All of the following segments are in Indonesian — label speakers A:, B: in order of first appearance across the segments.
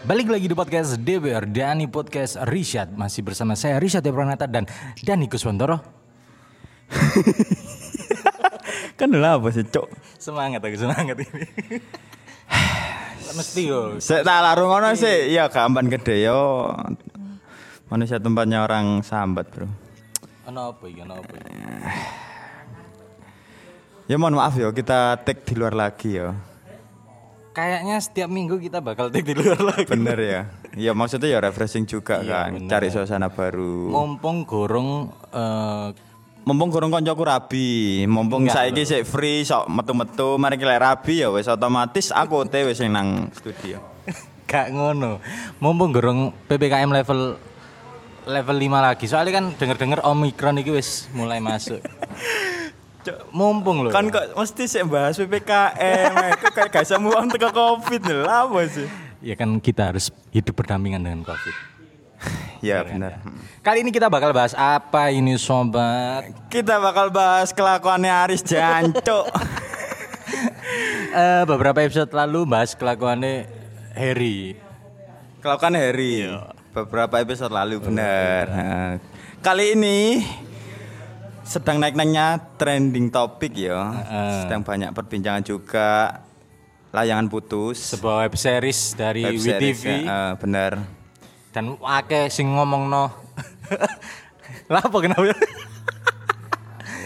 A: Balik lagi di podcast DBR Dani Podcast Rishad Masih bersama saya Rishad Depranata dan Dani Kuswantoro
B: Kan lah apa sih, Cok?
A: Semangat aku semangat ini Mesti yo
B: Sik tak larung ngono sih, ya gampan gede yo. Manusia tempatnya orang sambat, Bro.
A: Ono apa iki ono apa iki?
B: Ya mohon maaf yo, kita take di luar lagi yo.
A: Kayaknya setiap minggu kita bakal take di luar lagi
B: Bener ya. Ya maksudnya ya refreshing juga
A: Iya,
B: kan,
A: bener.
B: cari suasana baru.
A: Mumpung gorong eh,
B: Mumpung kurang koncoku rabi, mumpung saiki sik free sok metu-metu, mari kita rabi ya wis otomatis aku OTW sing nang studio.
A: gak ngono Mumpung gorong PPKM level level 5 lagi Soalnya kan denger-denger Omikron iki wis mulai masuk Mumpung loh
B: Kan kok mesti sik bahas PPKM, itu kayak gak semua orang teko Covid lha apa sih?
A: Ya kan kita harus hidup berdampingan dengan Covid
B: Ya bener.
A: Kali ini kita bakal bahas apa ini sobat?
B: Kita bakal bahas kelakuannya Aris Jancuk.
A: Eh, beberapa episode lalu bahas kelakuannya Harry.
B: Kelakuan Harry. Beberapa episode lalu bener. Nah, Kali ini sedang naik-naiknya trending topik ya. Sedang banyak perbincangan juga layangan putus.
A: Sebuah web series dari
B: Web series,
A: WeTV
B: ya, eh, bener.
A: dan akeh sing ngomong no. Lah apa kenapa?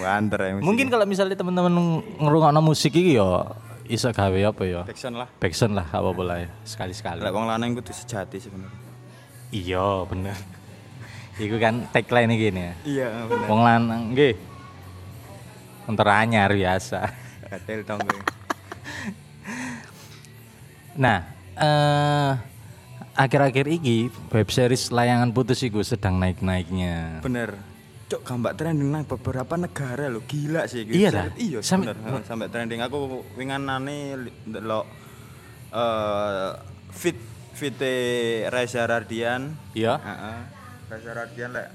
B: Wanter ya. mesti.
A: Mungkin kalau misalnya teman-teman ngerungokno musik iki ya iso gawe apa ya?
B: Backsound lah.
A: Backsound lah apa bola ya sekali-sekali.
B: Lek wong lanang kudu sejati sebenarnya.
A: Iya, bener. Iku kan tagline iki ya.
B: Iya, bener.
A: Wong lanang nggih. Entar anyar biasa.
B: Gatel dong gue.
A: Nah, eh akhir-akhir ini web series layangan putus iku sedang naik-naiknya.
B: Bener. Cok gambar trending nang beberapa negara lo gila sih
A: Iya
B: Saya-
A: dah.
B: Iya
A: Sampai-
B: bener. Heeh, sampai trending aku winganane li- ndelok eh fit fit Reza Radian.
A: Iya.
B: Heeh. Reza Radian lek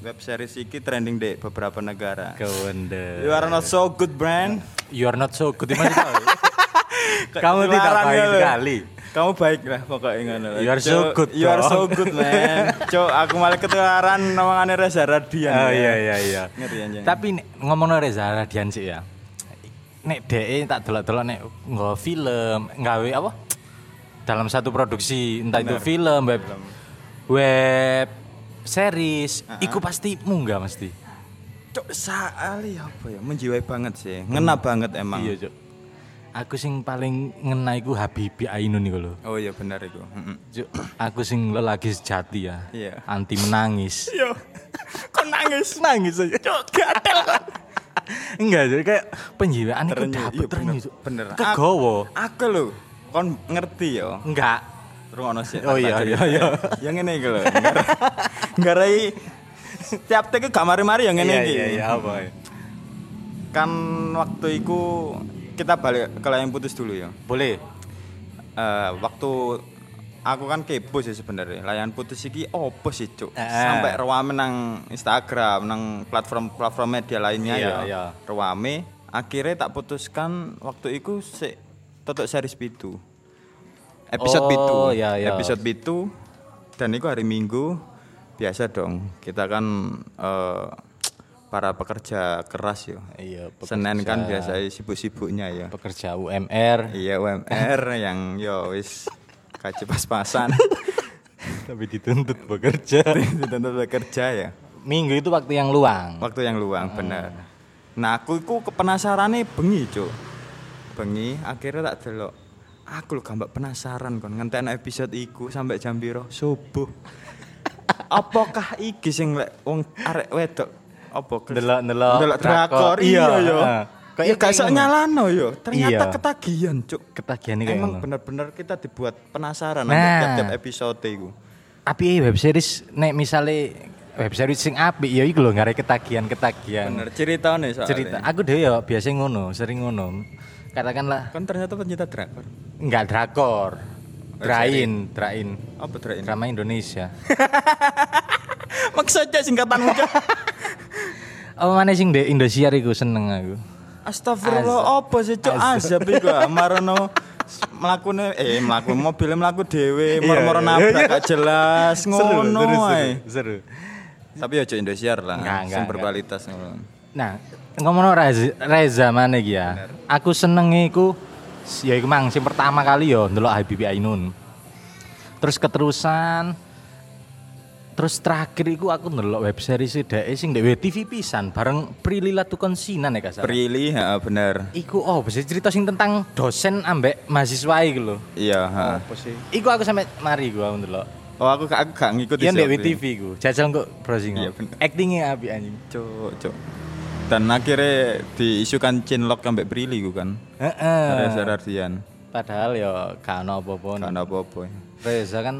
B: web series iki trending di beberapa negara.
A: Kewende.
B: You are not so good brand.
A: You are not so good maksudnya apa? Kamu tidak
B: Dilarang
A: baik
B: ya lo.
A: sekali.
B: Kamu baik lah pokoknya ngono.
A: You are so
B: Cok,
A: good,
B: You are
A: dong.
B: so good man. Cok aku malah ketularan namanya Reza Radian.
A: Oh
B: ya.
A: iya iya iya.
B: Ngeri anjing.
A: Tapi nek ngomongno Reza Radian sih ya. Nek DE tak delok-delok nek nggawa film, nggawe apa? Dalam satu produksi, entah itu film, web, web series, iku pasti munggah mesti.
B: Cok saali apa ya menjiwai banget sih ngena banget emang
A: Hmm. Iya, Cuk. Aku sing paling ngena iku Habibie Ainun iku lho.
B: oh iya benar itu Mm-mm.
A: Cuk, aku sing lelaki sejati ya.
B: Iya.
A: Anti menangis.
B: yo kok nangis
A: Nangis aja.
B: cok gatel kok
A: Enggak, jadi kayak penjiwaan itu
B: Terenyuh,
A: dapet
B: iya,
A: terenyuh,
B: bener,
A: Cuk.
B: bener.
A: Kegowo.
B: aku lho kon ngerti yo
A: Enggak.
B: rungono sih
A: Oh, iya, iya, iya.
B: yang ini gitu lho Nggar- nggarai setiap tek gak mari-mari yang ini iki
A: apa ya.
B: kan waktu itu kita balik ke yang putus dulu ya
A: Boleh.
B: Eh, waktu aku kan kepo sih sebenarnya layan putus iki opo sih cuk
A: Eh.
B: sampai rame nang Instagram nang platform platform media lainnya
A: Iya,
B: ya
A: iya.
B: rame akhirnya tak putuskan waktu itu sik tutup series pitu episode
A: Oh,
B: pitu
A: iya, iya.
B: episode pitu dan itu hari minggu biasa dong kita kan eh, para pekerja keras ya
A: Iya,
B: Senin kan biasanya sibuk-sibuknya ya
A: Pekerja UMR
B: Iya UMR yang yo wis kaji pas-pasan
A: tapi dituntut bekerja.
B: tentu bekerja ya.
A: Minggu itu waktu yang luang.
B: Waktu yang luang bener. Nah aku iku kepenasarane bengi cuk. Bengi akhirnya tak delok. Aku lho gambak penasaran kon ngenteni episode iku sampai jam piro subuh. Apakah iki sing lek wong arek wedok apa
A: Ndelok-ndelok
B: ndelok
A: drakor.
B: drakor
A: Iya,
B: iya yo.
A: heeh. Kayak
B: Ya gak sok
A: kayak
B: nyalano yo. Ternyata
A: Iya.
B: ketagihan cuk.
A: Ketagihan iki kayak
B: Emang
A: ngono.
B: bener-bener kita dibuat penasaran
A: Iya, Nah.
B: nah. tiap-tiap episode itu.
A: Tapi web series nek misale web series sing apik ya iku lho ngarep ketagihan-ketagihan.
B: Bener cerita nih soalnya.
A: cerita aku deh ya biasanya ngono sering ngono katakanlah
B: Kan ternyata pencinta drakor.
A: nggak drakor drain drain
B: Apa drak ini?
A: drama Indonesia
B: Maksudnya singkatan muda.
A: apa mana sing di Indosiar iku seneng aku
B: Astagfirullah apa sih cok azab iku ah, marono mlakune eh mlaku mobilnya mlaku
A: Iya,
B: dhewe, mor-mor nabrak gak jelas ngono ae.
A: seru.
B: Tapi ojo Indosiar lah,
A: Enggak,
B: sing
A: enggak,
B: berkualitas ngono.
A: Nah, ngomong Reza, Reza mana iki ya? Aku seneng iku ya iku mang sing pertama kali yo ndelok Habibie Ainun. Terus keterusan terus terakhir iku aku ndelok web series dhek sing ndek TV pisan bareng Prilly Latuconsina nek gak salah.
B: Prilly, ha bener.
A: ya, Iku oh, bisa cerita sing tentang dosen ambek mahasiswa iku lho.
B: Iya, ha.
C: Apa sih?
A: Iku aku sampe mari gua aku ndelok.
B: Oh aku gak aku gak ngikuti.
A: Iya
B: sih
A: ndek
B: waktu itu.
A: WTV iku. Jajal kok browsing.
B: Iya, bener.
A: Actingnya apik anjing.
B: Cuk, cuk. Dan akhirnya diisukan chinlock sampai Prilly ku kan.
A: Heeh.
B: Reza Rardian.
A: Padahal yo gak ono apa-apa.
B: Gak ada apa-apa. ya.
A: Reza kan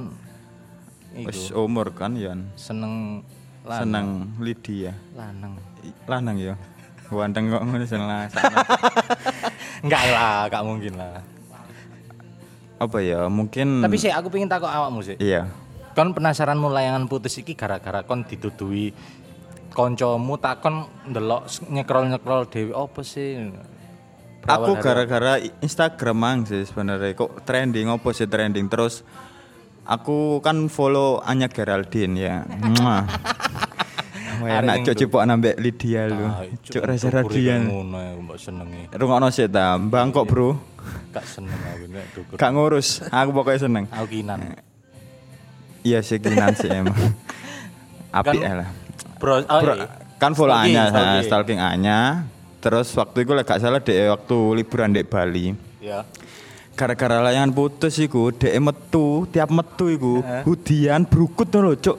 B: Wis
A: iku
B: umur kan Yan.
A: seneng lanang.
B: Seneng Lydia.
A: lanang.
B: I- Lanang ya. Wandeng kok ngono seneng
A: Enggak lah, gak mungkin lah. Hmm.
B: Apa ya? Mungkin
A: Tapi sih aku pengen takut awakmu sih.
B: iya.
A: Kon penasaranmu layangan putus iki gara-gara kon dituduhi koncomu takon ndelok s- nyekrol-nyekrol dhewe apa sih?
B: Aku
A: Berawal dari-
B: gara-gara i- Instagram mang sih sebenarnya kok trending apa sih trending terus aku kan follow Anya Geraldine ya. Mwah. ya, Wah,
A: Arek
B: enak cok
A: ning
B: cipok nambah Lydia lu.
A: Ah,
B: Cok
A: cuk,
B: Reza
A: dukure kayak
B: Radian.
A: Ngono ya, mbok senengi.
B: Rungokno sik ta, bangkok bro.
A: Gak seneng aku nek dukur.
B: Gak ngurus, aku pokoknya seneng.
A: Aku kinan.
B: Iya sih kinan sih emang. Apik ae lah.
A: Bro, oh,
B: Bro,
A: iya.
B: kan follow
A: Kan- Stalking,
B: Anya, stalking.
A: stalking.
B: stalking Anya. Terus waktu itu lah gak salah deh waktu liburan dek Bali.
A: Ya.
B: Gara-gara layangan putus iku, dek metu, tiap metu iku, hudian brukut lho, Cuk.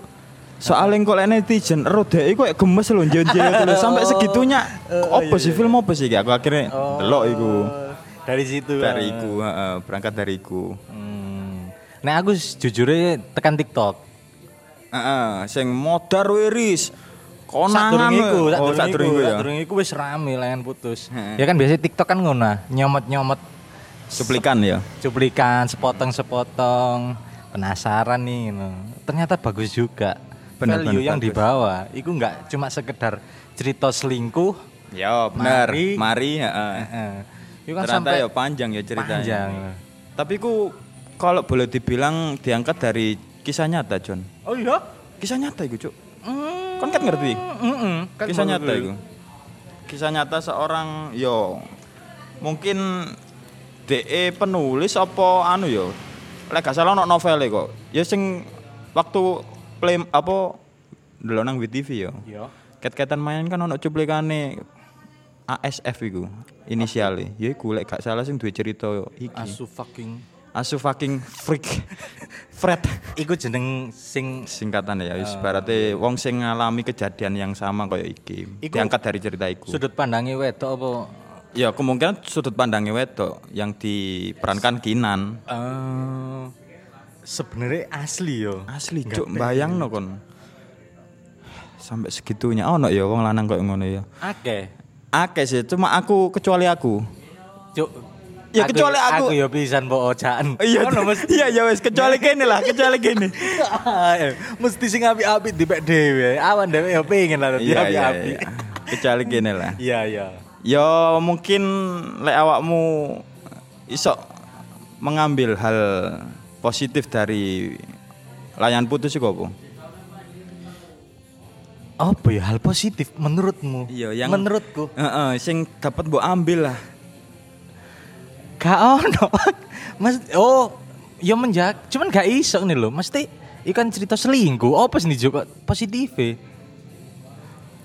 B: Soalnya kok lek netizen ero dek iku kayak gemes lho njenjel lho sampai segitunya.
A: Oh,
B: Apa
A: iya,
B: sih film apa sih iki? aku akhirnya delok iku.
A: Eh, Dari situ.
B: Dari iku, heeh, berangkat dari iku.
A: Hmm. Nah aku s- jujurnya tekan TikTok.
B: Heeh, sing modar wiris. Konangan.
A: Sadurunge iku,
B: oh,
A: sadurunge
B: sadurunge
A: iku,
B: ya.
A: sadurunge iku wis rame layan putus.
B: Heeh.
A: Ya kan biasanya TikTok kan ngono, nyomot-nyomot
B: Cuplikan ya.
A: cuplikan, sepotong-sepotong. Penasaran nih, no. ternyata bagus juga.
B: Bener,
A: Value
B: bener,
A: yang
B: bagus.
A: dibawa, itu nggak cuma sekedar cerita selingkuh.
B: Ya, benar.
A: Mari.
B: Mari, heeh.
A: Heeh. Itu kan
B: Ternyata
A: sampai
B: ya panjang ya ceritanya.
A: panjang.
B: Tapi ku kalau boleh dibilang diangkat dari kisah nyata, John.
A: Oh iya?
B: Kisah nyata iku, Cuk.
A: Hmm.
B: Kon kan ngerti?
A: Mm-mm. Kan
B: Kisah
A: baru
B: nyata
A: dulu.
B: iku. Kisah nyata seorang yo mungkin DE penulis apa anu yo. Lek gak salah ono novele kok. Ya sing waktu play apa ndelok nang WTV yo.
A: Iya.
B: Ket-ketan main kan ono cuplikane ASF iku inisiale. Ya iku lek gak salah sing duwe cerita iki. Asu,
A: Asu fucking.
B: fucking freak. Fred
A: Iku jeneng sing
B: singkatan
A: Ah,
B: ya wis barate wong sing ngalami kejadian yang sama kaya iki.
A: iya, Iku-
B: Diangkat dari cerita iku.
A: sudut pandangnya wedok apa?
B: Ya kemungkinan sudut pandangnya wedok yang diperankan Kinan.
A: Eh sebenarnya asli yo.
B: Asli cuk bayangno kon. Sampai segitunya ono ya wong lanang kaya ngono ya.
A: Akeh.
B: Akeh sih cuma aku kecuali aku.
A: Cuk.
B: Ya, kecuali
A: Aku
B: aku-
A: yo pisan mbok ocakan.
B: Iya,
A: Ono mesti
B: iya, iya, wes kecuali gini lah, kecuali gini.
A: Iya, mesti sing apik-apik dipek dhewe. Awan dhewe yo pengen lah dadi
B: Iya, iya,
A: apik-apik.
B: iya. kecuali gini lah.
A: Iya, iya.
B: Ya mungkin lek awakmu iso mengambil hal positif dari layan putus iku apa?
A: Apa ya hal positif menurutmu?
B: Iya, yang-
A: menurutku
B: Heeh, sing dapat mbok ambil lah.
A: gak ono. Mas oh, yo menjak, cuman gak iso nih lho. Mesti ikan cerita selingkuh. Apa sih nih juga positif e?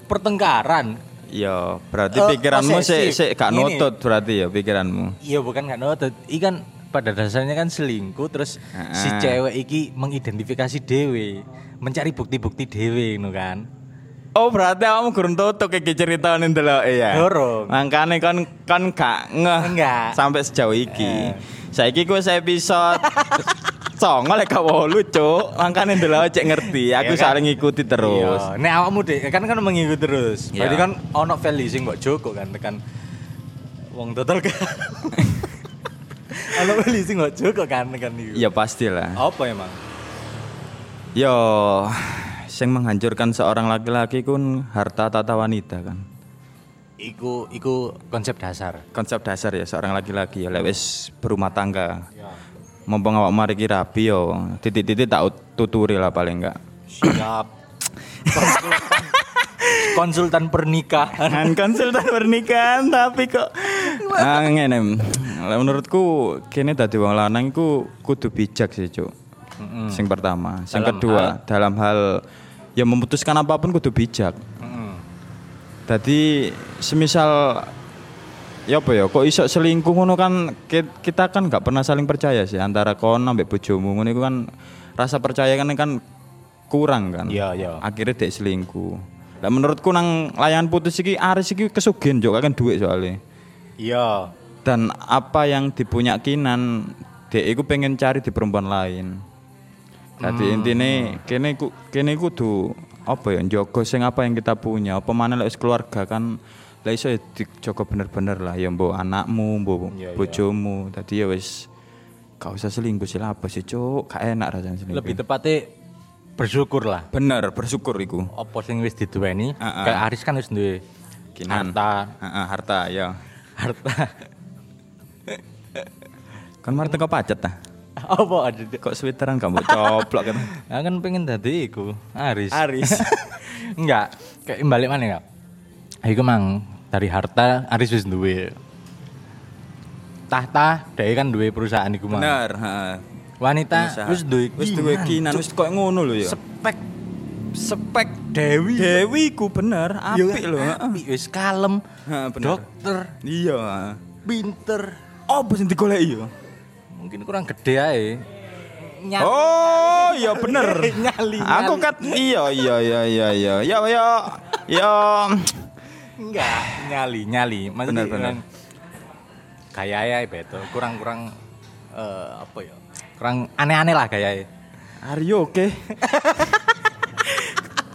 A: Pertengkaran.
B: Ya, berarti
A: Eh,
B: pikiranmu sik
A: posesif.
B: sik gak
A: Ngene.
B: nutut berarti ya pikiranmu.
A: Iya bukan gak nutut. Ikan pada dasarnya kan selingkuh terus si
B: Heeh.
A: cewek iki mengidentifikasi dewe, mencari bukti-bukti dewe ngono kan.
B: Oh, berarti awakmu gurung tutuk iki ceritane ndelok ya.
A: Durung.
B: Makane kon kon gak ngeh
A: Enggak. Eh.
B: sampai sejauh iki. Saiki ku wis episode songo lek gak wolu, Cuk. Makane ndelok cek ngerti.
A: Iya
B: Aku
A: kan?
B: saling ngikuti terus.
A: Iya. Nek awakmu dek kan kan mengikuti terus.
B: Iya.
A: Berarti kan ono value sing mbok Joko kan tekan wong total kan. ono value sing mbok Joko kan tekan niku.
B: Ya pastilah.
A: Apa emang?
B: Yo, sing menghancurkan seorang laki-laki kun harta tata wanita kan.
A: iku iku konsep dasar.
B: konsep dasar ya seorang laki-laki ya lek wis berumah tangga mumpung awak mari ki rapi yo titik-titik tak tuturi lah paling enggak
A: Siap. Konsultan, konsultan pernikahan.
B: kan konsultan pernikahan tapi kok Ah, ngene Lah, menurutku kene dadi wong lanang ku kudu bijak sih cuk sing pertama sing
A: Dalam
B: kedua dalam hal ya memutuskan apapun kudu bijak Jadi semisal ya apa ya kok iso selingkuh ngono kan ki- kita kan nggak pernah saling percaya sih antara kon ambek bojomu ngono iku kan rasa percaya kan kan kurang kan.
A: Iya, iya.
B: Akhirnya dek selingkuh. Lah menurutku nang layangan putus iki Aris iki kesugihan jok kan duit soalnya.
A: Iya.
B: Dan apa yang dipunya Kinan dek iku pengen cari di perempuan lain. Jadi
A: Hmm.
B: intine kene ku kene kudu apa ya njogo sing apa yang kita punya. Apa mana lek wis keluarga kan lek iso ya dijogo bener-bener lah ya mbok anakmu, mbok
A: Iya, iya.
B: bojomu. Dadi ya wis gak usah selingkuh sih lah apa sih cuk, gak enak rasanya selingkuh.
A: Lebih tepatnya bersyukur lah.
B: bener bersyukur iku.
A: Apa sing wis diduweni,
B: Heeh.
A: kayak Aris kan wis duwe
B: Ah, Kinan.
A: harta,
B: Heeh, harta ya.
A: harta.
B: Kan mari teko pacet ta.
A: Apa ada?
B: Kok sweateran kamu coplok kan.
A: Ya kan pengen dadi iku, Aris.
B: Aris.
A: Enggak, kayak balik mana enggak? Iku mang dari harta Aris wis duwe. Tahta, dia kan duwe perusahaan iku mang.
B: Bener, heeh.
A: Wanita wis duwe
B: wis duwe kinan wis koyo ngono lho ya.
A: spek
B: Spek
A: Dewi.
B: Dewi ku bener,
A: Iya.
B: apik lho.
A: Apik wis kalem.
B: Heeh, bener.
A: Dokter,
B: Iya.
A: pinter.
B: Apa sing digoleki ya?
A: Mungkin kurang gede ae. Nyali.
B: Oh, iya bener.
A: Nyali,
B: Aku
A: nyali.
B: kat iya iya iya iya iya. Ya ya ya
A: Enggak, nyali, nyali. Maksudnya
B: Bener, bener.
A: Kayak ya betul, kurang-kurang eh, apa ya? Kurang aneh-aneh lah kayak.
B: Are you okay?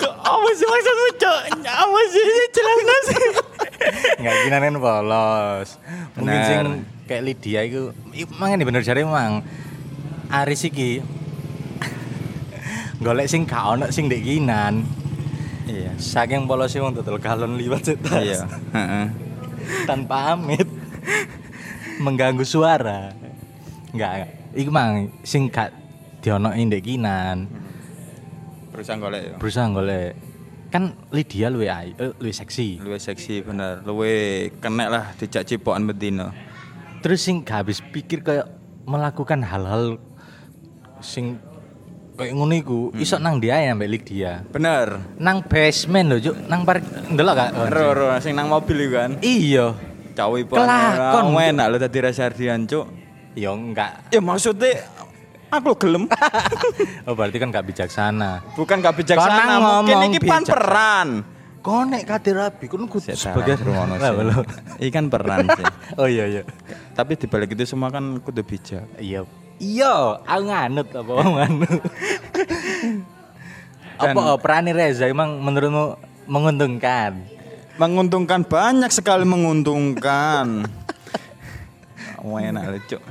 B: Kok apa sih maksudmu, Cok? Apa sih celana sih?
A: Enggak gini kan polos. Mungkin
B: Bener.
A: sing kayak Lydia itu, emang ini bener jare emang. Aris iki golek sing gak ono sing ndek kinan.
B: Iya.
A: Saking polosnya wong dodol galon liwat cetas.
B: Iya. Heeh.
A: tanpa amit mengganggu suara enggak enggak. iku mang sing gak dionoki ndek kinan
B: Berusaha golek ya.
A: berusaha golek kan Lydia luwe ai- eh, luwe seksi
B: Luwe seksi bener, luwe kenek lah dijak cipokan bedino.
A: terus sing gak habis pikir kayak melakukan hal-hal sing kayak ngono iku iso nang dia ya mbak Lydia
B: Bener.
A: nang basement lho Cuk. nang park ndelok gak Oh,
B: Ro ro sing nang mobil iku kan.
A: iya
B: Cawi pun
A: Kelakon.
B: orang enak lo tadi Reza Ardian cuk
A: ya enggak
B: Ya maksudnya aku gelem
A: oh berarti kan gak bijaksana
B: Bukan gak bijaksana
A: Konang
B: mungkin
A: ngomong
B: ini pan
A: bijaksana.
B: peran
A: Kau nek kate rabi, kau kudu sebagai Lah, belum.
B: Ikan kan peran sih
A: Oh iya iya.
B: Tapi dibalik itu semua kan kudu bijak
A: Iya. Iya, aku nganut apa wong nganut.
B: Dan-
A: apa oh, perannya Reza emang menurutmu menguntungkan?
B: Menguntungkan banyak sekali menguntungkan Oh enak lo cuk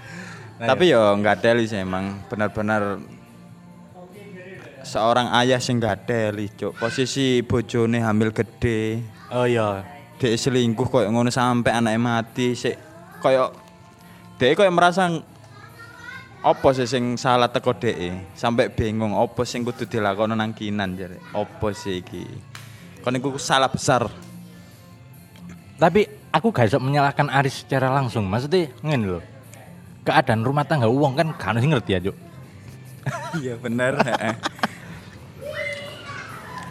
B: Tapi yo nggak deli sih emang benar-benar seorang ayah sing nggak deli cuk posisi bojone hamil gede
A: Oh iya.
B: dek selingkuh koyo ngono sampai anaknya mati sik koyo dek koyo merasa apa sih sing salah teko dek sampai bingung apa sing kudu dilakoni nang kinan jare apa sih iki kon iku salah besar
A: Tapi aku gak bisa menyalahkan Aris secara langsung. Maksudnya ngene lho. Keadaan rumah tangga uang kan gak harus ngerti ya, Cuk.
B: iya bener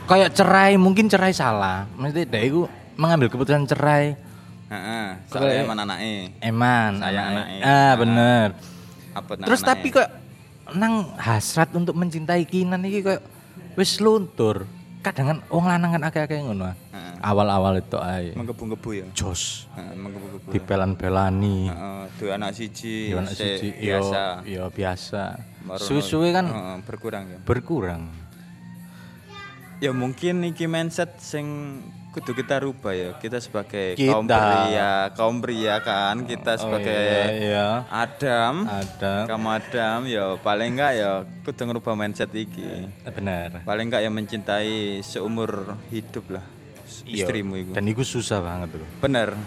A: Kayak cerai, mungkin cerai salah. Maksudnya dia itu mengambil keputusan cerai.
B: heeh soalnya emang anake
A: Eman,
B: Sayang anaknya.
A: Ah, bener.
B: apa
A: Terus tapi
B: ya.
A: kok nang hasrat untuk mencintai Kinan iki kok wis luntur. Kadang kan wong lanang kan akeh-akeh ngono. ah.
B: Heeh.
A: Awal-awal itu ae.
B: menggebu-gebu ya
A: Jos
B: Heeh, menggebu-gebu
A: dipelan-pelani.
B: Heeh, dua anak siji
A: Yo anak
B: sik
A: siji iya. yo
B: biasa
A: yo biasa.
B: Baru-
A: Suwe-suwe kan
B: Heeh, berkurang ya
A: berkurang.
B: Ya mungkin iki mindset sing kudu kita rubah ya. Kita sebagai
A: Kita.
B: kaum pria, kaum pria kan kita sebagai
A: iya, iya.
B: Adam,
A: Ada
B: kamu Adam ya paling enggak ya kudu ngerubah mindset iki.
A: Eh, bener.
B: Paling enggak ya mencintai seumur hidup lah.
A: Iya.
B: istrimu iku.
A: Dan iku susah banget tuh.
B: Bener.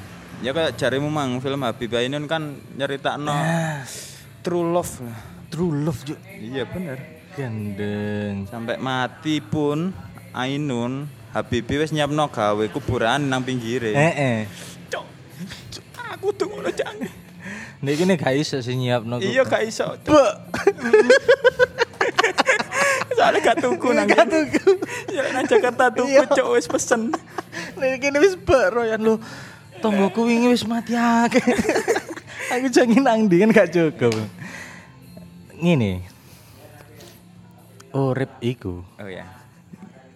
B: Ya kayak jarimu mang film Habib Ainun kan nyeritakno true love lah.
A: True love juga
B: Iya bener.
A: Gendeng.
B: Sampai mati pun Ainun Habibie wis nyiapno gawe kuburan nang pinggire.
A: Eh eh.
B: Cok. Cok, Aku tuh ngono jang.
A: Nek ini gak iso sih nyiapno ku.
B: Iya gak iso. Soalnya gak tuku nang. Gak tuku. Ya nang Jakarta tuku cok wis pesen.
A: Nek ini wis beroyan lho. Tonggoku wingi wis mati akeh. Aku jangan nang ndi kan gak cukup. Ngene. Urip iku.
B: Oh ya.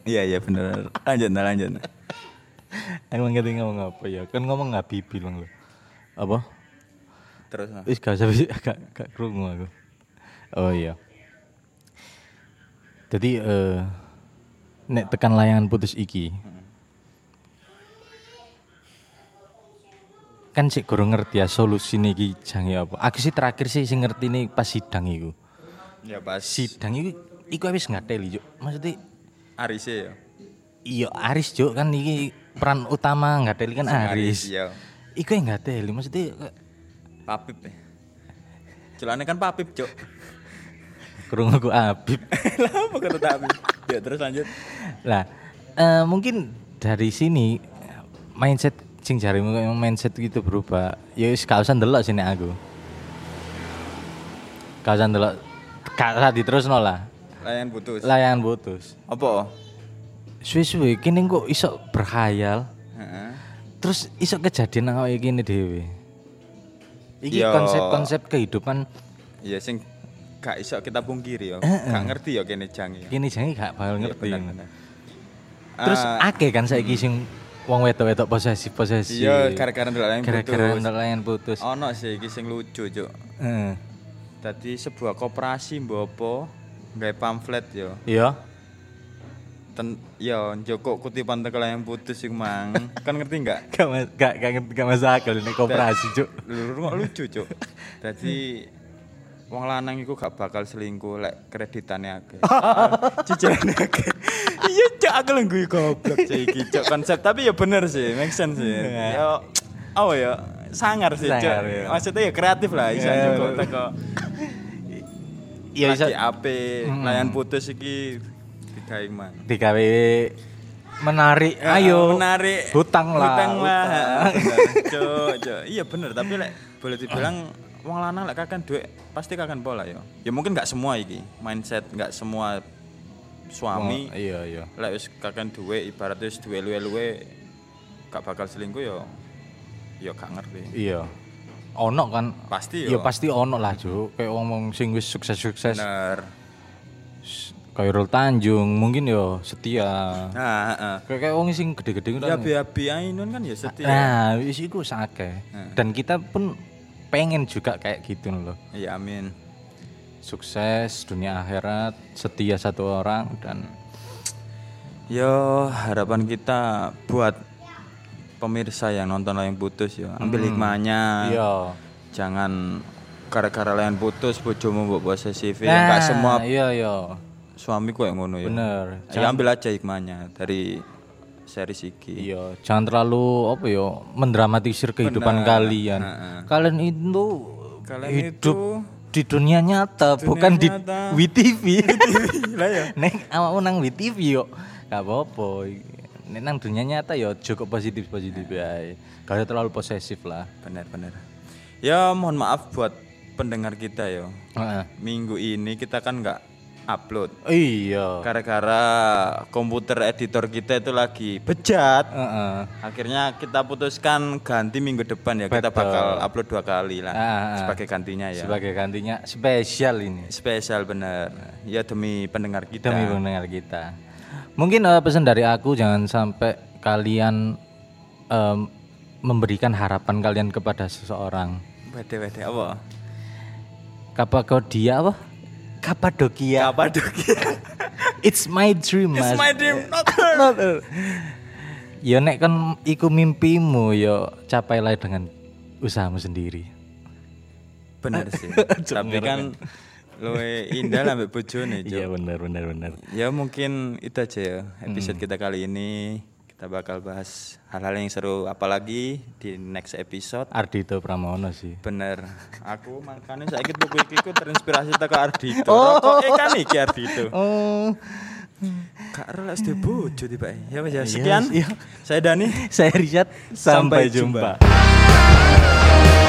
B: Iya iya bener. Lanjut nah, lanjut. nah.
A: Aku ngerti ngomong apa ya. Kan ngomong gak bibi bang lho. Apa?
B: Terus. nah.
A: Wis gak usah wis gak gak krungu aku. Oh iya. Jadi eh nek tekan layangan putus iki. Kan sik kurang ngerti ya solusi iki jange apa. Aku sih terakhir sih sing ngerti nih pas sidang iku.
B: Ya pasti
A: Sidang iku iku wis ngateli, Juk. Maksudnya
B: Arise ya.
A: iya Aris Juk kan iki peran utama ngateli kan Aris.
B: Ya.
A: Iku yang ngateli maksudnya
B: Papip. ya. Celane kan papip cok.
A: kurang aku abib.
B: Lah apa kata tapi. Ya terus lanjut.
A: Lah, eh, mungkin dari sini mindset sing jarimu kayak mindset gitu berubah. Ya wis gak usah ndelok sini aku. Gak usah ndelok gak usah diterusno lah.
B: Layan putus.
A: Layanan putus.
B: Apa?
A: Suwe-suwe kene kok iso berkhayal,
B: Heeh.
A: terus iso kejadian nang awake kene dhewe. Iki
B: Yo.
A: konsep-konsep kehidupan
B: Ya sing gak iso kita pungkiri ya. Gak ngerti ya kene jange Iya, ya.
A: kene jange gak bakal ngerti.
B: Bener-bener.
A: Terus
B: Ah,
A: akeh kan saiki sing wong wedok-wedok posesif-posesif.
B: iya gara-gara ndelok layan
A: gara-gara
B: putus.
A: ndelok layanan putus.
B: Ono sih iki sing lucu cok.
A: Heeh.
B: Tadi sebuah koperasi mbok apa nggawe pamflet ya.
A: Iya.
B: Ten ya njoko kutipan tekel yang putus iku mang. kan ngerti nggak?
A: Gak, mas- gak, gak, ngerti- gak masuk akal ini koperasi cuk.
B: Lur kok lucu, Cuk. Dadi wong lanang iku gak bakal selingkuh lek kreditane akeh. Cicilane akeh. Iya, Cuk, aku lenggu goblok Cuk iki, Cuk. Konsep tapi ya bener sih, make sense sih. Ya oh ya sangar sih, Cuk.
A: Sangar, ya.
B: Maksudnya ya kreatif lah, iso
A: Ya,
B: juga
A: bener.
B: teko
A: Iya bisa
B: lagi ape, layan putus iki digawe man.
A: DKW menarik. Ayo.
B: Eh, menarik.
A: Hutang lah.
B: Hutang lah.
A: hutang.
B: Bener, Cuk, Cuk. Iya bener, tapi lek boleh dibilang wong lanang lek kakan duit pasti kakan pola ya. Ya mungkin nggak semua iki, mindset nggak semua suami
A: Oh, iya iya.
B: lek wis kakan duit ibaratnya wis duwe luwe-luwe gak bakal selingkuh ya ya gak ngerti.
A: Iya. Ono kan.
B: Pasti
A: Iya
B: ya.
A: pasti ono lah cuk. Kayak wong wong sing wis sukses-sukses.
B: Bener.
A: Kayak Rul Tanjung mungkin yo setia.
B: Nah, heeh.
A: Kayak kayak wong sing gede-gede
B: Ya
A: kan.
B: biabi ainun kan ya Eh. setia.
A: Nah, wis iku sakeh. Dan kita pun pengen juga kayak gitu loh.
B: Iya amin.
A: Sukses dunia akhirat, setia satu orang dan
B: Yo harapan kita buat pemirsa yang nonton layang putus ya ambil hikmahnya.
A: iya.
B: Jangan gara-gara layang putus bojomu mbok posesif ya enggak
A: Nah,
B: semua
A: Iya iya.
B: suami kok yang ngono ya.
A: Bener.
B: Ya, ambil aja hikmahnya dari series iki.
A: Iya, jangan terlalu apa ya mendramatisir kehidupan kalian. Kalian itu
B: Kalian
A: hidup
B: itu-
A: di dunia nyata, bukan
B: nyata.
A: di WTV.
B: Lah ya.
A: Neng awakmu nang WTV yo gak apa-apa. Nek nang dunia nyata yo cukup positif-positif ae. Gak usah terlalu posesif lah.
B: Bener-bener. Ya mohon maaf buat pendengar kita ya.
A: Heeh.
B: Minggu ini kita kan nggak upload
A: Iya.
B: Oh. gara-gara komputer editor kita itu lagi bejat.
A: Heeh.
B: Akhirnya kita putuskan ganti minggu depan ya. Kita bakal upload dua kali lah
A: Ah, ah.
B: sebagai gantinya ya.
A: Sebagai gantinya spesial ini.
B: Spesial bener. Ya demi pendengar kita.
A: demi mendengar kita. Mungkin eh, pesan dari aku jangan sampai kalian em, memberikan harapan kalian kepada seseorang.
B: Wede wede apa?
A: Kapadokia apa? Kapadokia.
B: Apa tuh?
A: It's my dream, Mas.
B: It's my dream not her.
A: Not her. Yo nek kan iku mimpimu yo capailah dengan usahamu sendiri.
B: Bener sih. Tapi kan luwe indah lah mbek bojone, Cuk.
A: Iya benar benar benar. Hmm.
B: Ya mungkin itu aja ya episode kita kali ini. Kita bakal bahas hal-hal yang seru apalagi di next episode.
A: Ardito Pramono sih.
B: Bener. Aku makanya saiki tuku iki ku terinspirasi teko Ardito. Rokoke kan iki Ardito.
A: Oh,
B: Kak Rel SD bojo tiba Ya Mas ya. Sekian.
A: iya.
B: Saya Dani.
A: saya Rizat. Sampai,
B: Sampai
A: jumpa.
B: jumpa.